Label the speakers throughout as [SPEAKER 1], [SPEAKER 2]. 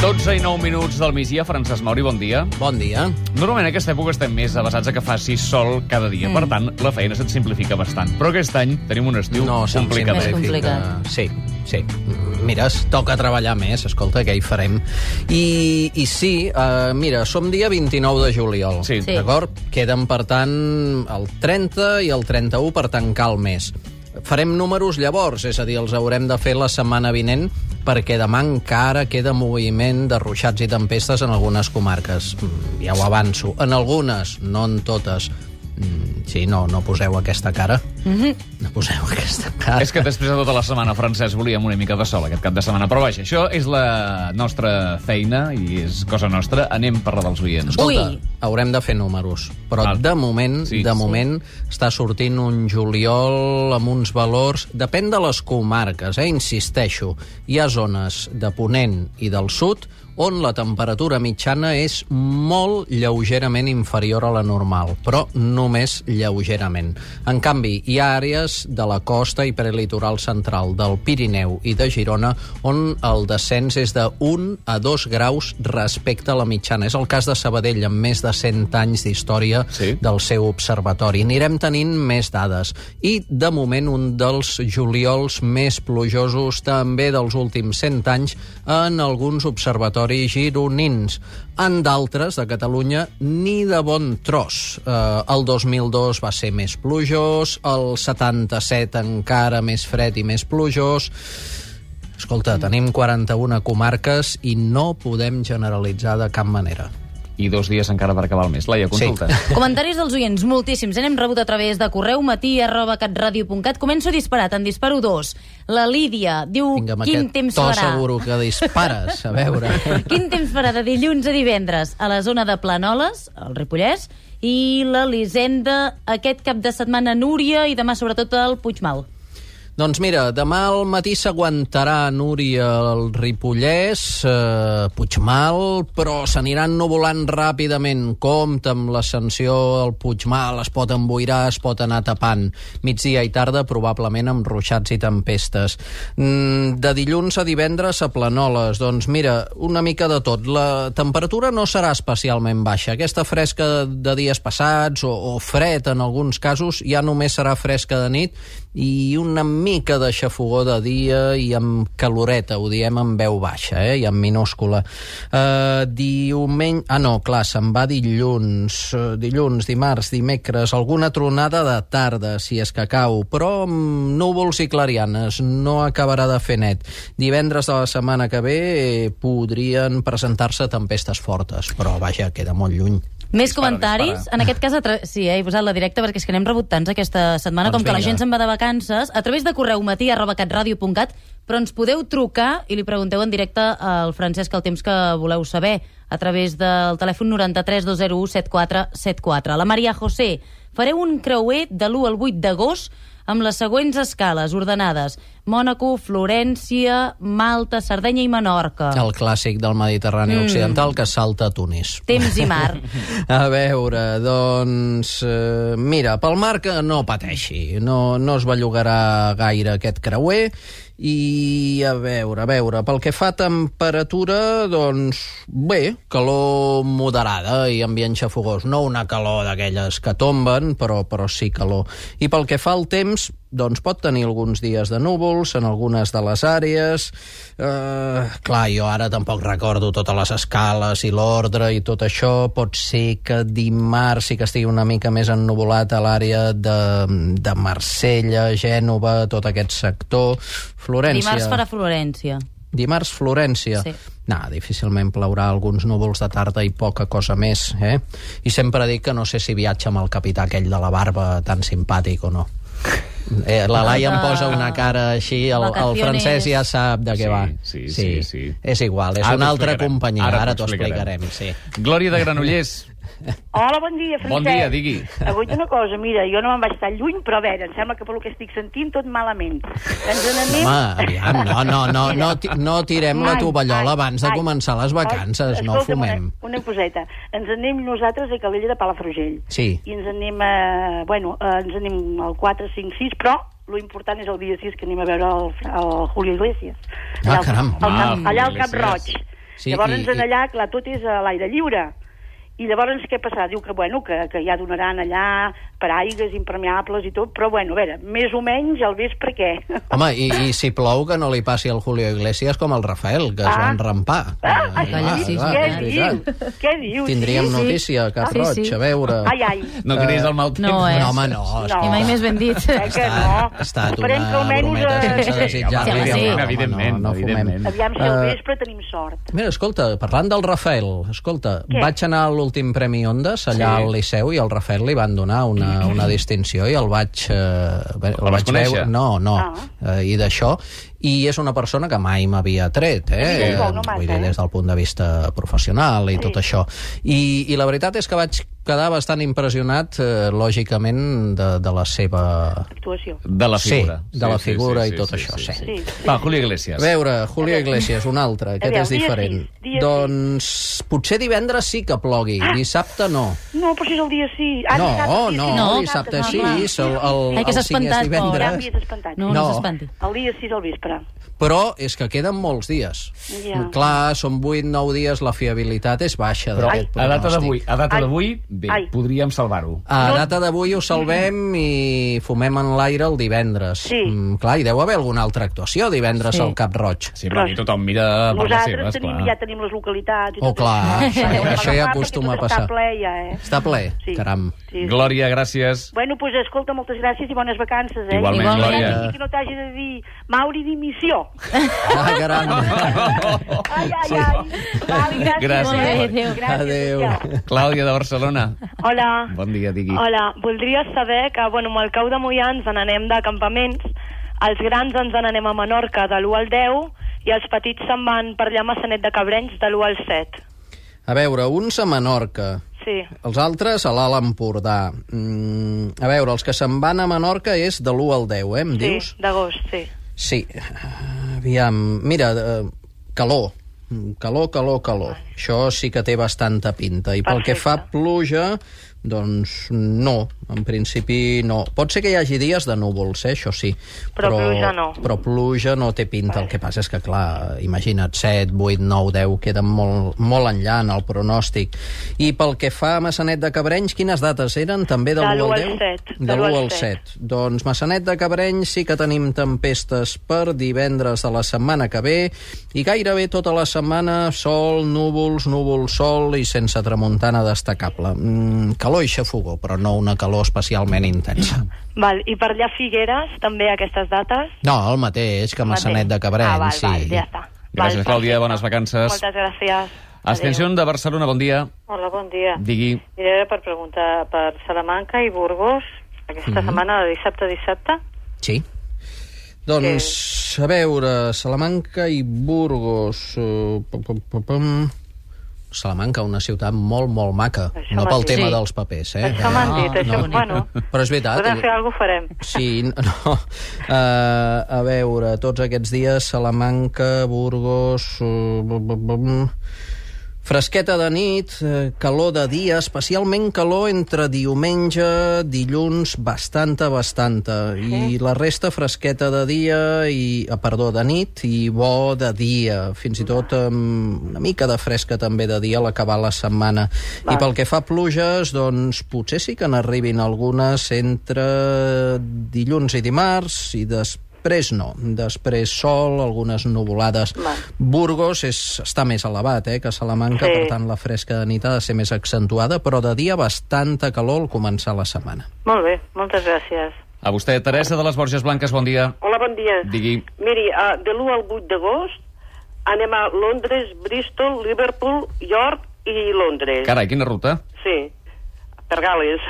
[SPEAKER 1] 12 i 9 minuts del migdia. Francesc Mauri, bon dia.
[SPEAKER 2] Bon dia.
[SPEAKER 1] Normalment a aquesta època estem més avasats a que faci sol cada dia. Mm. Per tant, la feina se't simplifica bastant. Però aquest any tenim un estiu
[SPEAKER 2] No, se'm
[SPEAKER 1] complicat.
[SPEAKER 2] simplifica.
[SPEAKER 3] Més complicat.
[SPEAKER 2] Sí, sí. Mira, es toca treballar més, escolta, què hi farem. I, i sí, uh, mira, som dia 29 de juliol,
[SPEAKER 1] Sí. Sí.
[SPEAKER 2] d'acord? Queden, per tant, el 30 i el 31 per tancar el mes. Farem números llavors, és a dir, els haurem de fer la setmana vinent perquè demà encara queda moviment de ruixats i tempestes en algunes comarques. Mm, Ja ho avanço. En algunes, no en totes. Mm, Sí, no, no poseu aquesta cara. No poseu aquesta cara.
[SPEAKER 1] És que després de tota la setmana, Francesc, volíem una mica de sol aquest cap de setmana. Però vaja, això és la nostra feina i és cosa nostra. Anem per la dels oients.
[SPEAKER 2] Escolta,
[SPEAKER 3] Ui.
[SPEAKER 2] haurem de fer números, però
[SPEAKER 1] Val.
[SPEAKER 2] de moment,
[SPEAKER 1] Sí.
[SPEAKER 2] sí, de
[SPEAKER 1] Sí.
[SPEAKER 2] moment està sortint un juliol amb uns valors, depèn de les comarques, eh, insisteixo. Hi ha zones de Ponent i del Sud on la temperatura mitjana és molt lleugerament inferior a la normal, però només lleugerament. En canvi, hi ha àrees de la costa i prelitoral central del Pirineu i de Girona on el descens és de 1 a 2 graus respecte a la mitjana. És el cas de Sabadell, amb més de 100 anys d'història
[SPEAKER 1] Sí.
[SPEAKER 2] del seu observatori. Anirem tenint més dades. I, de moment, un dels juliols més plujosos també dels últims 100 anys en alguns observatoris gironins. En d'altres, de Catalunya, ni de bon tros. Eh, el 2002 va ser més plujós, el 77 encara més fred i més plujós. Escolta, tenim 41 comarques i no podem generalitzar de cap manera.
[SPEAKER 1] I dos dies encara per acabar el mes. Laia, consulta. Sí.
[SPEAKER 3] Comentaris dels oients, moltíssims. N'hem rebut a través de correu matí arroba catradio.cat. Començo disparat, en disparo dos. La Lídia diu
[SPEAKER 2] Vinga, amb
[SPEAKER 3] quin
[SPEAKER 2] aquest
[SPEAKER 3] temps
[SPEAKER 2] to
[SPEAKER 3] farà.
[SPEAKER 2] seguro que dispares, a veure.
[SPEAKER 3] Quin temps farà de dilluns a divendres a la zona de Planoles, al Ripollès, i l'Elisenda aquest cap de setmana a Núria i demà sobretot al Puigmal.
[SPEAKER 2] doncs mira, demà al matí s'aguantarà Núria al Ripollès, eh, Puigmal, però s'aniran nuvolant ràpidament. Compte amb l'ascensió al Puigmal, es pot emboirar, es pot anar tapant. Migdia i tarda, probablement amb ruixats i tempestes. Mm, de dilluns a divendres a Planoles, doncs mira, una mica de tot. La temperatura no serà especialment baixa. Aquesta fresca de dies passats o, o fred en alguns casos ja només serà fresca de nit i una mica de xafogó de dia i amb caloreta, ho diem en veu baixa eh? i en minúscula. Uh, diumenge... Ah, no, clar, se'n va dilluns, eh, dilluns, dimarts, dimecres, alguna tronada de tarda, si és que cau, però amb núvols i clarianes, no acabarà de fer net. Divendres de la setmana que ve eh, podrien presentar-se tempestes fortes, però vaja, queda molt lluny.
[SPEAKER 3] Més
[SPEAKER 1] Dispara,
[SPEAKER 3] comentaris.
[SPEAKER 1] dispara.
[SPEAKER 3] En aquest cas, a tra... sí, eh, he posat la directa perquè és que n'hem rebut tants aquesta setmana,
[SPEAKER 2] Doncs
[SPEAKER 3] com que la
[SPEAKER 2] vinga.
[SPEAKER 3] gent se'n va de vacances, a través de correu matí arroba catradio.cat, però ens podeu trucar i li pregunteu en directe al Francesc el temps que voleu saber a través del telèfon 93 201 7474. La Maria José, fareu un creuer de l'1 al 8 d'agost amb les següents escales ordenades. Mònaco, Florència, Malta, Sardenya i Menorca.
[SPEAKER 2] El clàssic del Mediterrani mm. Occidental que salta a Tunis.
[SPEAKER 3] Temps i mar.
[SPEAKER 2] A veure, doncs... Eh, mira, pel mar que no pateixi, no, no es bellugarà gaire aquest creuer, i a veure, a veure, pel que fa a temperatura, doncs bé, calor moderada i ambient xafogós, no una calor d'aquelles que tomben, però, però sí calor. I pel que fa al temps, doncs pot tenir alguns dies de núvols en algunes de les àrees. Eh, clar, jo ara tampoc recordo totes les escales i l'ordre i tot això. Pot ser que dimarts sí que estigui una mica més ennuvolat a l'àrea de, de Marsella, Gènova, tot aquest sector. Florència...
[SPEAKER 3] Dimarts farà Florència.
[SPEAKER 2] Dimarts, Florència.
[SPEAKER 3] Sí.
[SPEAKER 2] No, difícilment plourà alguns núvols de tarda i poca cosa més, eh? I sempre dic que no sé si viatja amb el capità aquell de la barba tan simpàtic o no. Eh, la Laia em posa una cara així, el, el
[SPEAKER 3] Vacaciones.
[SPEAKER 2] francès ja sap de què
[SPEAKER 1] Sí,
[SPEAKER 2] va.
[SPEAKER 1] sí, sí, sí.
[SPEAKER 2] És igual, és
[SPEAKER 1] Ara
[SPEAKER 2] ara
[SPEAKER 1] t'ho
[SPEAKER 2] una altra
[SPEAKER 1] explicarem.
[SPEAKER 2] companyia,
[SPEAKER 1] Ara
[SPEAKER 2] ara,
[SPEAKER 1] t'ho
[SPEAKER 2] t'ho
[SPEAKER 1] explicarem.
[SPEAKER 2] explicarem. sí.
[SPEAKER 1] Glòria de Granollers.
[SPEAKER 4] Hola, bon dia, Francesc.
[SPEAKER 1] Bon dia, digui.
[SPEAKER 4] Avui una cosa, mira, jo no me'n vaig tan lluny, però a veure, em sembla que pel que estic sentint tot malament. Ens n'anem...
[SPEAKER 2] Home, aviam, no, no, no, no, ti- no tirem la
[SPEAKER 4] Ai,
[SPEAKER 2] tovallola
[SPEAKER 4] ai,
[SPEAKER 2] abans de
[SPEAKER 4] ai.
[SPEAKER 2] començar les vacances, no
[SPEAKER 4] Escolta'm,
[SPEAKER 2] fumem.
[SPEAKER 4] Una, una coseta. Ens anem nosaltres a Calella de Palafrugell.
[SPEAKER 2] Sí.
[SPEAKER 4] I ens anem a... Bueno, eh, ens anem al 4, 5, 6, però lo important és el dia 6 que anem a veure el, el Julio Iglesias.
[SPEAKER 2] Ah, caram,
[SPEAKER 4] al
[SPEAKER 1] home,
[SPEAKER 4] camp, allà al
[SPEAKER 1] Julio
[SPEAKER 4] Cap
[SPEAKER 1] Iglesias.
[SPEAKER 4] Roig.
[SPEAKER 2] Sí,
[SPEAKER 4] Sí, llavors,
[SPEAKER 2] i-
[SPEAKER 4] i, en allà, clar, tot és a l'aire lliure. I llavors què passarà? Diu que, bueno, que, que ja donaran allà paraigues impermeables i tot, però, bueno, a veure, més o menys al vespre què?
[SPEAKER 2] Home, i, i si plou que no li passi al Julio Iglesias com al Rafael, que ah. es
[SPEAKER 4] Ah.
[SPEAKER 2] van rampar.
[SPEAKER 4] Ah,
[SPEAKER 3] sí, sí, sí,
[SPEAKER 4] què
[SPEAKER 2] és veritat.
[SPEAKER 4] dius? Què dius?
[SPEAKER 2] Tindríem
[SPEAKER 3] Sí, sí.
[SPEAKER 2] notícia, Cap
[SPEAKER 3] Ah, sí,
[SPEAKER 2] Roig,
[SPEAKER 3] sí.
[SPEAKER 2] a veure...
[SPEAKER 4] Ai, ai.
[SPEAKER 1] No cridis el mal temps.
[SPEAKER 3] No, eh?
[SPEAKER 2] No, home, no.
[SPEAKER 4] No.
[SPEAKER 3] I mai més ben dit.
[SPEAKER 4] Eh, que no.
[SPEAKER 2] Ha estat
[SPEAKER 4] Esperem que
[SPEAKER 2] una
[SPEAKER 4] almenys,
[SPEAKER 2] brometa
[SPEAKER 4] eh,
[SPEAKER 2] sense
[SPEAKER 4] sí.
[SPEAKER 2] desitjar.
[SPEAKER 3] Sí, home, sí.
[SPEAKER 1] Evidentment,
[SPEAKER 2] no, no fumem.
[SPEAKER 1] evidentment.
[SPEAKER 4] Aviam si al
[SPEAKER 2] Eh,
[SPEAKER 4] vespre tenim sort.
[SPEAKER 2] Mira, escolta, parlant del Rafael, escolta, Què?
[SPEAKER 4] Què?
[SPEAKER 2] vaig anar a l'últim Premi Ondas allà sí.
[SPEAKER 1] Sí.
[SPEAKER 2] al Liceu i al Rafael li van donar una, una distinció i el vaig... Eh, bé, el
[SPEAKER 1] vas
[SPEAKER 2] vaig
[SPEAKER 1] conèixer?
[SPEAKER 2] veure- No, no, ah.
[SPEAKER 4] Ah.
[SPEAKER 2] eh, i d'això. I és una persona que mai m'havia tret, eh?
[SPEAKER 4] Sí,
[SPEAKER 2] Eh,
[SPEAKER 4] no, no mata,
[SPEAKER 2] Vull dir,
[SPEAKER 4] eh?
[SPEAKER 2] des del punt de vista professional i sí. tot això. I, I la veritat és que vaig quedar bastant impressionat, eh, lògicament, de, de la seva...
[SPEAKER 4] Actuació.
[SPEAKER 1] De la figura.
[SPEAKER 2] Sí, de la figura i tot això, sí.
[SPEAKER 4] Sí.
[SPEAKER 1] Va, Julio
[SPEAKER 2] A
[SPEAKER 1] Iglesias.
[SPEAKER 2] veure, Julio Iglesias, un altre, aquest
[SPEAKER 4] veure,
[SPEAKER 2] és
[SPEAKER 4] dia
[SPEAKER 2] diferent.
[SPEAKER 4] sis, dia
[SPEAKER 2] doncs potser divendres sí que plogui, dissabte no.
[SPEAKER 4] No, però si és el dia 6. Ah,
[SPEAKER 2] no,
[SPEAKER 4] dissabte,
[SPEAKER 2] no,
[SPEAKER 3] no,
[SPEAKER 2] dissabte
[SPEAKER 3] no,
[SPEAKER 2] sí,
[SPEAKER 3] clar.
[SPEAKER 2] el, el,
[SPEAKER 3] Ai, que
[SPEAKER 2] el
[SPEAKER 3] s'ha
[SPEAKER 2] cinc és
[SPEAKER 3] espantat,
[SPEAKER 4] Ja
[SPEAKER 2] divendres.
[SPEAKER 4] m'hi has espantat.
[SPEAKER 3] No, no,
[SPEAKER 2] No.
[SPEAKER 3] s'espanti.
[SPEAKER 4] El dia 6 al vespre.
[SPEAKER 2] Però és que queden molts dies.
[SPEAKER 4] Ja.
[SPEAKER 2] Clar, són 8-9 dies, la fiabilitat és baixa
[SPEAKER 1] Però
[SPEAKER 2] d'aquest
[SPEAKER 1] a data d'avui,
[SPEAKER 2] pronòstic.
[SPEAKER 1] a data
[SPEAKER 4] Ai.
[SPEAKER 1] d'avui, bé,
[SPEAKER 4] Ai.
[SPEAKER 1] podríem salvar-ho.
[SPEAKER 2] A data d'avui ho salvem i fumem en l'aire el divendres.
[SPEAKER 4] Sí.
[SPEAKER 2] Mm, clar, hi deu haver alguna altra actuació divendres
[SPEAKER 3] Sí.
[SPEAKER 2] al Cap Roig.
[SPEAKER 1] Sí, però aquí tothom mira per les
[SPEAKER 4] Nosaltres
[SPEAKER 1] seves,
[SPEAKER 4] tenim,
[SPEAKER 1] clar.
[SPEAKER 4] ja tenim les localitats. i
[SPEAKER 2] Oh,
[SPEAKER 4] tot
[SPEAKER 2] clar, sí,
[SPEAKER 4] Sabeu
[SPEAKER 2] això
[SPEAKER 4] agafar
[SPEAKER 2] ja
[SPEAKER 4] perquè
[SPEAKER 2] acostuma
[SPEAKER 4] tot
[SPEAKER 2] a passar.
[SPEAKER 4] Està ple ja, eh?
[SPEAKER 2] Està ple? Caram.
[SPEAKER 4] Sí.
[SPEAKER 1] Glòria, gràcies.
[SPEAKER 4] Bueno, doncs pues, escolta, moltes gràcies i bones vacances, eh?
[SPEAKER 1] Igualment,
[SPEAKER 4] I
[SPEAKER 1] Glòria.
[SPEAKER 4] I que no t'hagi de dir Mauri dimissió.
[SPEAKER 2] Ah, gran.
[SPEAKER 4] Ai, ai, ai. Vale, gràcies.
[SPEAKER 1] Gràcies.
[SPEAKER 4] eh?
[SPEAKER 1] Molt bé, adéu.
[SPEAKER 4] Gràcies,
[SPEAKER 2] Adéu.
[SPEAKER 4] adéu.
[SPEAKER 1] Clàudia de Barcelona.
[SPEAKER 5] Hola.
[SPEAKER 1] Bon dia, digui.
[SPEAKER 5] Hola, voldria saber que, bueno, amb el cau de Mollà ens n'anem de campaments, els grans ens n'anem a Menorca de l'1 al 10 i els petits se'n van per allà a Massanet de Cabrenys de l'1 al 7.
[SPEAKER 2] A veure, uns a Menorca,
[SPEAKER 5] Sí.
[SPEAKER 2] els altres a l'Alt Empordà. Mm, a veure, els que se'n van a Menorca és de l'1 al 10, eh, em dius?
[SPEAKER 5] Sí, d'agost, sí.
[SPEAKER 2] Sí. Aviam, mira, eh, calor. Mm, Calor, calor, calor. Això sí que té bastanta pinta. I pel que fa a pluja, doncs no, en principi no. Pot ser que hi hagi dies de núvols, eh, això sí.
[SPEAKER 5] Però pluja no.
[SPEAKER 2] Però pluja no té pinta. El que passa és que, clar, imagina't, 7, 8, 9, 10, queda molt, molt enllà en el pronòstic. I pel que fa a Massanet de Cabrenys, quines dates eren? També de
[SPEAKER 5] De
[SPEAKER 2] l'1
[SPEAKER 5] l'u
[SPEAKER 2] al
[SPEAKER 5] al
[SPEAKER 2] 10?
[SPEAKER 5] set,
[SPEAKER 2] De l'1 al 7. Doncs Massanet de Cabrenys sí que tenim tempestes per divendres de la setmana que ve i gairebé tota la setmana sol, núvols, núvols, sol i sense tramuntana destacable. Mm, calor i xafogó, però no una calor especialment intensa.
[SPEAKER 5] Val, I per allà Figueres, també aquestes dates?
[SPEAKER 2] No, el mateix que Massanet de Cabrenys.
[SPEAKER 5] Ah, val, val,
[SPEAKER 2] sí.
[SPEAKER 5] ja està.
[SPEAKER 1] Gràcies, Clàudia, bones vacances.
[SPEAKER 5] Moltes gràcies.
[SPEAKER 1] Extensió de Barcelona, bon dia.
[SPEAKER 6] Hola, bon dia.
[SPEAKER 1] Digui.
[SPEAKER 6] Mira, era per preguntar per Salamanca i Burgos aquesta
[SPEAKER 1] Mhm.
[SPEAKER 6] setmana, de dissabte a dissabte.
[SPEAKER 2] Sí. Doncs, a veure, Salamanca i Burgos... eh, pum, pum, pum, pum. Salamanca, una ciutat molt, molt maca.
[SPEAKER 6] Això
[SPEAKER 2] no pel
[SPEAKER 6] mateix.
[SPEAKER 2] tema
[SPEAKER 3] Sí.
[SPEAKER 2] dels papers, eh?
[SPEAKER 6] Això m'han dit,
[SPEAKER 2] Ah,
[SPEAKER 6] això,
[SPEAKER 2] no.
[SPEAKER 6] bueno.
[SPEAKER 2] Però és
[SPEAKER 1] Ah,
[SPEAKER 2] veritat. eh?
[SPEAKER 6] Podem fer alguna cosa, farem.
[SPEAKER 2] Sí, no. Uh, a veure, tots aquests dies, Salamanca, Burgos... Uh, bum, bum, bum. Fresqueta de nit, eh, calor de dia, especialment calor entre diumenge, dilluns, bastanta, bastanta. I la resta fresqueta de dia, i eh, perdó, de nit, i bo de dia. Fins i tot amb una mica de fresca també de dia a l'acabar la setmana. I pel que fa a pluges, doncs potser sí que n'arribin algunes entre dilluns i dimarts, i després Després no, després sol, algunes nuvolades. Burgos és, està més elevat eh, que Salamanca,
[SPEAKER 6] Sí.
[SPEAKER 2] per tant la fresca de nit ha de ser més accentuada, però de dia bastanta calor al començar la setmana.
[SPEAKER 6] Molt bé, moltes gràcies.
[SPEAKER 1] A vostè, Teresa de les Borges Blanques, bon dia.
[SPEAKER 7] Hola, bon dia.
[SPEAKER 1] Digui.
[SPEAKER 7] Miri, eh, de l'1 al 8 d'agost anem a Londres, Bristol, Liverpool, York i Londres.
[SPEAKER 1] Carai, quina ruta.
[SPEAKER 7] Sí, per Gales.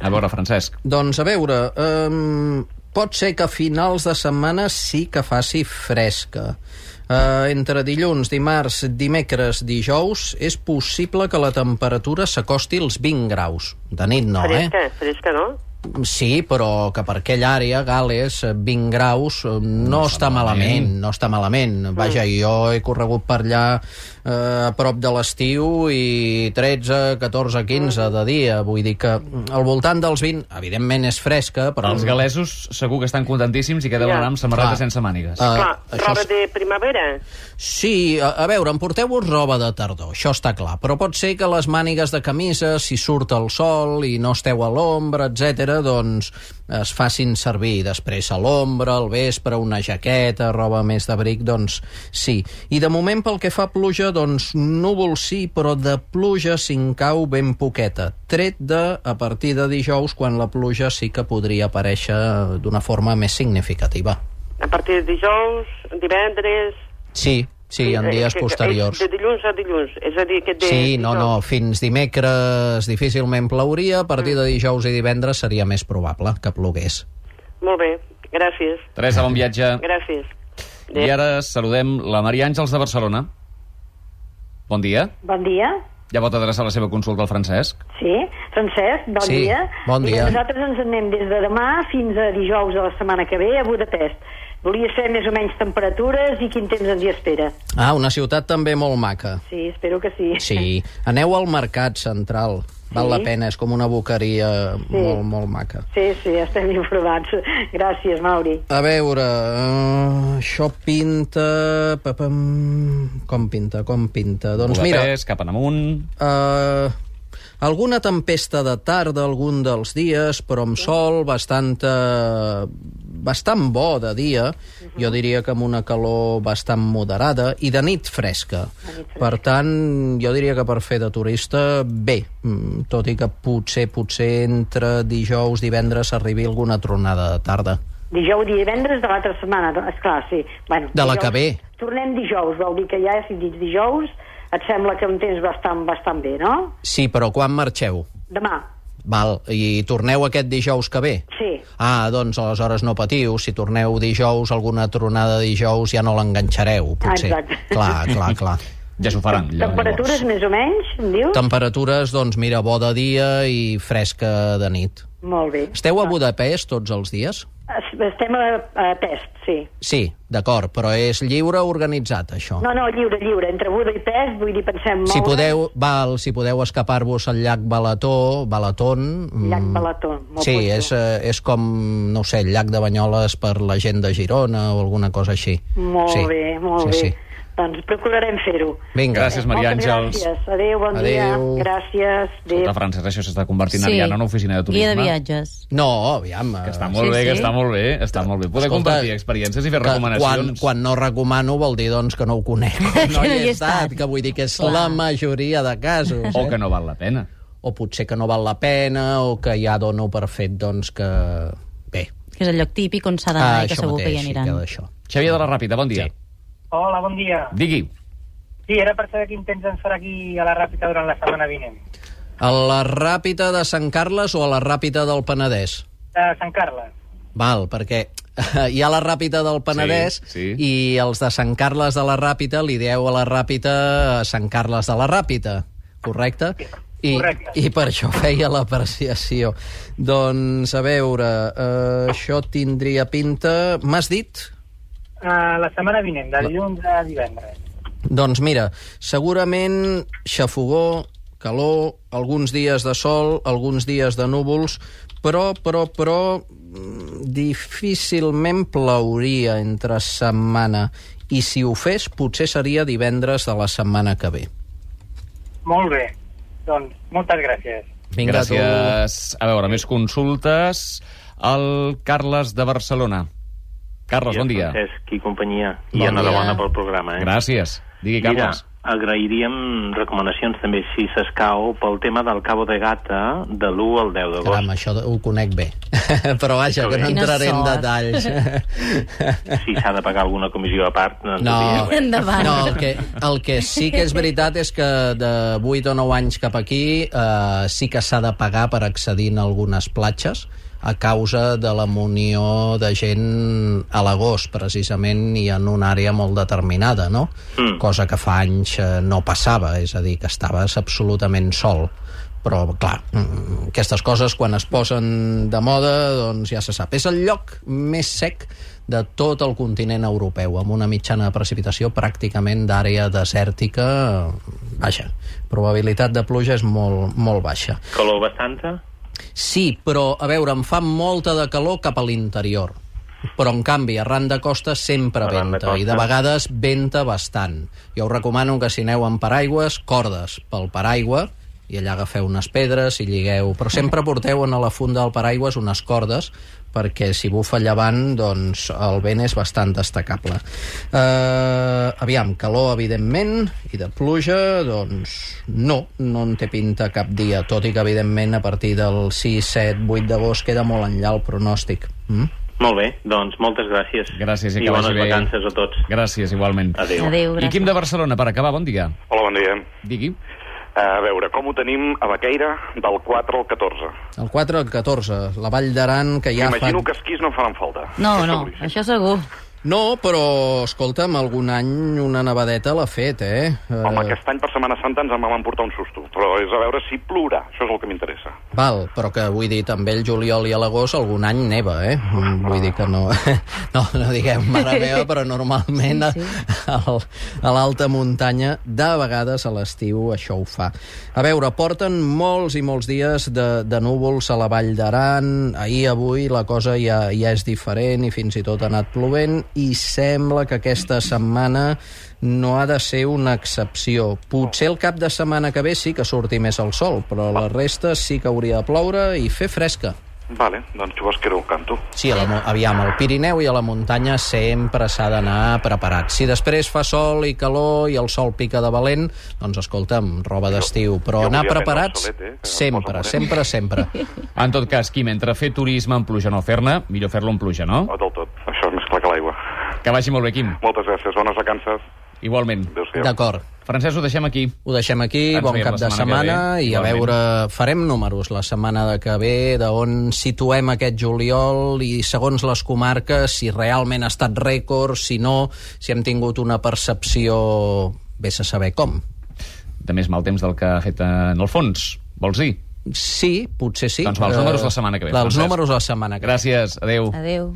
[SPEAKER 1] A veure, Francesc.
[SPEAKER 2] Doncs a veure, um, pot ser que a finals de setmana sí que faci fresca. Uh, entre dilluns, dimarts, dimecres, dijous, és possible que la temperatura s'acosti als 20 graus. De nit no, eh?
[SPEAKER 7] fresca, fresca, no?
[SPEAKER 2] Sí, però que per aquella àrea, Gales, eh, 20 graus, eh, no, no està malament, no està malament. Vaja, jo he corregut per allà eh, a prop de l'estiu i 13, 14, 15 de dia. Vull dir que mm, al voltant dels 20, evidentment és fresca, però...
[SPEAKER 4] Mm.
[SPEAKER 1] Els galesos segur que estan contentíssims i que deuen
[SPEAKER 7] Ja.
[SPEAKER 1] anar amb samarreta
[SPEAKER 2] Clar.
[SPEAKER 1] sense mànigues.
[SPEAKER 2] Ah,
[SPEAKER 7] Clar,
[SPEAKER 2] això
[SPEAKER 7] roba
[SPEAKER 2] és-
[SPEAKER 7] de primavera.
[SPEAKER 2] Sí, a, a veure, emporteu-vos roba de tardor, això està clar, però pot ser que les mànigues de camisa, si surt el sol i no esteu a l'ombra, etc, doncs es facin servir després a l'ombra, al vespre, una jaqueta, roba més d'abric, doncs sí. I de moment pel que fa a pluja, doncs núvol sí, però de pluja si en cau ben poqueta, tret de a partir de dijous, quan la pluja sí que podria aparèixer d'una forma més significativa.
[SPEAKER 7] A partir de dijous, divendres...
[SPEAKER 2] Sí, sí, en
[SPEAKER 7] eh,
[SPEAKER 2] dies
[SPEAKER 7] que- que-
[SPEAKER 2] posteriors.
[SPEAKER 7] De dilluns a dilluns, és a dir, que de...
[SPEAKER 2] Sí, no,
[SPEAKER 7] dijous.
[SPEAKER 2] no, fins dimecres difícilment plauria, a partir de dijous i divendres seria més probable que plogués.
[SPEAKER 7] Molt bé, gràcies,
[SPEAKER 1] Teresa, bon viatge.
[SPEAKER 7] gràcies.
[SPEAKER 1] I ara saludem la Maria Àngels de Barcelona. Bon dia.
[SPEAKER 8] Bon dia.
[SPEAKER 1] Ja pot adreçar la seva consulta al Francesc.
[SPEAKER 8] Sí, Francesc, bon
[SPEAKER 2] Sí,
[SPEAKER 8] dia.
[SPEAKER 2] bon dia.
[SPEAKER 8] Mira, nosaltres ens en anem des de demà fins a dijous de la setmana que ve a Budapest. Volia saber més o menys temperatures i quin temps ens hi espera.
[SPEAKER 2] Ah, una ciutat també molt maca.
[SPEAKER 8] Sí, espero que sí.
[SPEAKER 2] Sí, aneu al mercat central, val
[SPEAKER 8] Sí.
[SPEAKER 2] la pena, és com una boqueria molt, molt maca.
[SPEAKER 8] Sí, sí, estem informats. Gràcies, Mauri.
[SPEAKER 2] A veure, uh, això pinta... Papam, com pinta, com pinta? Doncs mira,
[SPEAKER 1] Budapest, cap en amunt.
[SPEAKER 2] Eh, alguna tempesta de tarda algun dels dies, però amb sol bastant, eh, bastant bo de dia, jo diria que amb una calor bastant moderada, i de nit fresca. Per tant, jo diria que per fer de turista, bé, mm, tot i que potser, potser entre dijous, divendres arribi alguna tronada de tarda.
[SPEAKER 8] Dijous i divendres de l'altra setmana, do- esclar, sí. Bueno,
[SPEAKER 2] De la
[SPEAKER 8] dijous.
[SPEAKER 2] que ve.
[SPEAKER 8] Tornem dijous, vol dir que ja si dic dijous et sembla que un temps bastant, bastant bé, no?
[SPEAKER 2] Sí, però quan marxeu?
[SPEAKER 8] Demà,
[SPEAKER 2] Val, i torneu aquest dijous que ve?
[SPEAKER 8] sí.
[SPEAKER 2] Ah, doncs aleshores no patiu, si torneu dijous, alguna tronada dijous ja no l'enganxareu, potser.
[SPEAKER 8] Exacte.
[SPEAKER 2] Clar, clar, clar.
[SPEAKER 1] Ja s'ho faran. ja,
[SPEAKER 8] Temperatures més o menys, em dius?
[SPEAKER 2] Temperatures, doncs mira, bo de dia i fresca de nit.
[SPEAKER 8] Molt bé.
[SPEAKER 2] Esteu a Budapest tots els dies?
[SPEAKER 8] Es- Estem a, a test, sí.
[SPEAKER 2] Sí, d'acord, però és lliure organitzat, això.
[SPEAKER 8] No, no, lliure, lliure. Entre Buda i Pes, vull dir, pensem molt...
[SPEAKER 2] Si podeu, val, si podeu escapar-vos al llac Balató, Balaton... mm,
[SPEAKER 8] Llac Balató, molt
[SPEAKER 2] Sí,
[SPEAKER 8] potser.
[SPEAKER 2] és, eh, és com, no ho sé, el llac de Banyoles per la gent de Girona o alguna cosa així.
[SPEAKER 8] Molt
[SPEAKER 2] sí.
[SPEAKER 8] bé, molt
[SPEAKER 2] sí,
[SPEAKER 8] bé.
[SPEAKER 2] Sí.
[SPEAKER 8] Doncs procurarem fer-ho.
[SPEAKER 2] Vinga.
[SPEAKER 1] Gràcies, Maria
[SPEAKER 8] Moltes
[SPEAKER 1] Àngels.
[SPEAKER 8] gràcies. Adéu, bon
[SPEAKER 2] Adéu.
[SPEAKER 8] dia. Gràcies.
[SPEAKER 1] Escolta,
[SPEAKER 8] Adéu.
[SPEAKER 1] Francesc, Tota això s'està convertint sí. en una oficina de turisme.
[SPEAKER 3] Guia de viatges.
[SPEAKER 2] No, aviam... eh,
[SPEAKER 1] Que està molt sí,
[SPEAKER 3] Sí,
[SPEAKER 1] bé, que
[SPEAKER 3] sí.
[SPEAKER 1] està molt bé, està molt bé. Poder
[SPEAKER 2] Escolta,
[SPEAKER 1] compartir experiències i fer
[SPEAKER 2] que
[SPEAKER 1] recomanacions.
[SPEAKER 2] Quan, quan no recomano vol dir doncs, que no ho conec. No
[SPEAKER 3] no hi he estat.
[SPEAKER 2] que vull dir que és Clar. la majoria de casos.
[SPEAKER 1] O
[SPEAKER 2] eh?
[SPEAKER 1] que no val la pena.
[SPEAKER 2] o potser que no val la pena, o que ja dono per fet doncs, que... Bé,
[SPEAKER 3] Que és el lloc típic on s'ha
[SPEAKER 1] Ah,
[SPEAKER 3] d'anar Ah, i que
[SPEAKER 2] això
[SPEAKER 3] segur que hi
[SPEAKER 2] mateix, i
[SPEAKER 3] aniran.
[SPEAKER 2] que d'això.
[SPEAKER 1] Xavier de la Ràpita, bon dia. Sí.
[SPEAKER 9] Hola, bon dia.
[SPEAKER 1] Digui,
[SPEAKER 9] Sí, era per saber quin temps ens farà aquí a la Ràpita durant la setmana vinent.
[SPEAKER 2] A la Ràpita de Sant Carles o a la Ràpita del Penedès?
[SPEAKER 9] De Sant Carles.
[SPEAKER 2] Val, perquè hi ha la Ràpita del Penedès
[SPEAKER 1] Sí, sí.
[SPEAKER 2] i els de Sant Carles de la Ràpita li dieu a la Ràpita a Sant Carles de la Ràpita, correcte? I,
[SPEAKER 9] Correcte.
[SPEAKER 2] I per això feia l'apreciació. Doncs, a veure, eh, això tindria pinta... M'has dit?
[SPEAKER 9] Uh, la setmana vinent, de dilluns a divendres.
[SPEAKER 2] Doncs mira, segurament xafogó, calor, alguns dies de sol, alguns dies de núvols, però, però, però, mm, difícilment plauria entre setmana. I si ho fes, potser seria divendres de la setmana que ve.
[SPEAKER 9] Molt bé. Doncs, moltes gràcies.
[SPEAKER 2] Vinga, tu.
[SPEAKER 1] gràcies. A veure, més consultes. El Carles de Barcelona. Carles, bon dia.
[SPEAKER 10] Francesc i companyia.
[SPEAKER 3] Bon
[SPEAKER 10] I enhorabona
[SPEAKER 3] dia.
[SPEAKER 10] pel programa. Eh?
[SPEAKER 1] Gràcies. Digui,
[SPEAKER 10] Mira,
[SPEAKER 1] Carles.
[SPEAKER 10] agrairíem recomanacions també, si s'escau, pel tema del Cabo de Gata de l'1 al 10
[SPEAKER 2] Caram,
[SPEAKER 10] d'agost.
[SPEAKER 2] això ho conec bé. però vaja, que no
[SPEAKER 3] Quina
[SPEAKER 2] entraré en
[SPEAKER 3] sort.
[SPEAKER 2] detalls.
[SPEAKER 10] Si s'ha de pagar alguna comissió a part, no ens
[SPEAKER 2] No.
[SPEAKER 10] ho dieu, eh?
[SPEAKER 3] Endavant.
[SPEAKER 2] No, el que, el que sí que és veritat és que de 8 o 9 anys cap aquí eh, sí que s'ha de pagar per accedir a algunes platges a causa de la munió de gent a l'agost, precisament, i en una àrea molt determinada, no?
[SPEAKER 10] Mm.
[SPEAKER 2] Cosa que fa anys eh, no passava, és a dir, que estaves absolutament sol. Però, clar, mm, aquestes coses, quan es posen de moda, doncs ja se sap. És el lloc més sec de tot el continent europeu, amb una mitjana de precipitació pràcticament d'àrea desèrtica eh, baixa. Probabilitat de pluja és molt, molt baixa.
[SPEAKER 10] Calor bastanta?
[SPEAKER 2] Sí, però, a veure, em fa molta de calor cap a l'interior. Però, en canvi, arran de costa sempre
[SPEAKER 10] Arran de
[SPEAKER 2] venta, i de
[SPEAKER 10] costa.
[SPEAKER 2] vegades venta bastant. Jo us recomano que si aneu amb paraigües, cordes pel paraigua, i allà agafeu unes pedres i lligueu. Però sempre porteu en la funda del paraigües unes cordes, perquè si bufa llevant, doncs el vent és bastant destacable. Uh, aviam, calor, evidentment, i de pluja, doncs no, no en té pinta cap dia, tot i que, evidentment, a partir del 6, 7, 8 d'agost queda molt enllà el pronòstic. Mm?
[SPEAKER 10] Molt bé, doncs moltes gràcies.
[SPEAKER 1] Gràcies i
[SPEAKER 10] I
[SPEAKER 1] que
[SPEAKER 10] bones
[SPEAKER 1] vagi bé.
[SPEAKER 10] vacances a tots.
[SPEAKER 1] Gràcies, igualment.
[SPEAKER 10] Adéu.
[SPEAKER 3] Adéu,
[SPEAKER 1] I Quim de Barcelona, per acabar, bon dia.
[SPEAKER 11] Hola, bon dia.
[SPEAKER 1] Digui.
[SPEAKER 11] A veure, com ho tenim a Baqueira del 4 al 14?
[SPEAKER 2] El 4 al 14, la Vall d'Aran, que ja fa...
[SPEAKER 11] M'imagino que esquís no en faran falta.
[SPEAKER 3] No, no, això segur.
[SPEAKER 2] No, però, escolta'm, algun any una nevadeta l'ha fet, eh?
[SPEAKER 11] Home,
[SPEAKER 2] Eh,
[SPEAKER 11] aquest any per Setmana Santa ens en vam emportar un susto, però és a veure si plourà, això és el que m'interessa.
[SPEAKER 2] Val, però que vull dir, també el juliol i a l'agost algun any neva, eh? Mm, Vull dir que no... No, no diguem mare meva, però normalment a, al- a l'alta muntanya de vegades a l'estiu això ho fa. A veure, porten molts i molts dies de, de núvols a la Vall d'Aran. Ahir, avui, la cosa ja, ja és diferent i fins i tot ha anat plovent i sembla que aquesta setmana no ha de ser una excepció. Potser el cap de setmana que ve sí que surti més el sol, però la resta sí que hauria de ploure i fer fresca.
[SPEAKER 11] Vale, doncs tu vols que ho canto.
[SPEAKER 2] Sí, a la, mu- aviam, al Pirineu i a la muntanya sempre s'ha d'anar preparat. Si després fa sol i calor i el sol pica de valent, doncs escolta'm, roba d'estiu. Però
[SPEAKER 1] jo
[SPEAKER 2] anar
[SPEAKER 1] volia prendre el
[SPEAKER 2] preparats
[SPEAKER 1] solet, eh, que
[SPEAKER 2] sempre, sempre, sempre.
[SPEAKER 1] En tot cas, Quim, entre fer turisme en pluja o no fer-ne, millor fer-lo en pluja, no?
[SPEAKER 11] No del tot, això és més clar que l'aigua.
[SPEAKER 1] Que vagi molt bé, Quim.
[SPEAKER 11] Moltes gràcies, bones vacances.
[SPEAKER 1] Igualment.
[SPEAKER 2] D'acord.
[SPEAKER 1] Francesc, ho deixem aquí.
[SPEAKER 2] Ho deixem aquí,
[SPEAKER 1] Ens
[SPEAKER 2] bon
[SPEAKER 1] veiem
[SPEAKER 2] cap
[SPEAKER 1] la
[SPEAKER 2] de
[SPEAKER 1] setmana que
[SPEAKER 2] setmana
[SPEAKER 1] ve,
[SPEAKER 2] i a
[SPEAKER 1] igualment.
[SPEAKER 2] veure, farem números la setmana de que ve, d'on situem aquest juliol i segons les comarques, si realment ha estat rècord, si no, si hem tingut una percepció vés a saber com.
[SPEAKER 1] De més mal temps del que ha fet eh, en el fons, vols dir?
[SPEAKER 2] Sí, potser sí.
[SPEAKER 1] Doncs va, els
[SPEAKER 2] Eh,
[SPEAKER 1] números la setmana que ve.
[SPEAKER 2] Els
[SPEAKER 1] Francesc.
[SPEAKER 2] números la setmana que ve.
[SPEAKER 1] Gràcies, adeu.
[SPEAKER 3] Adéu.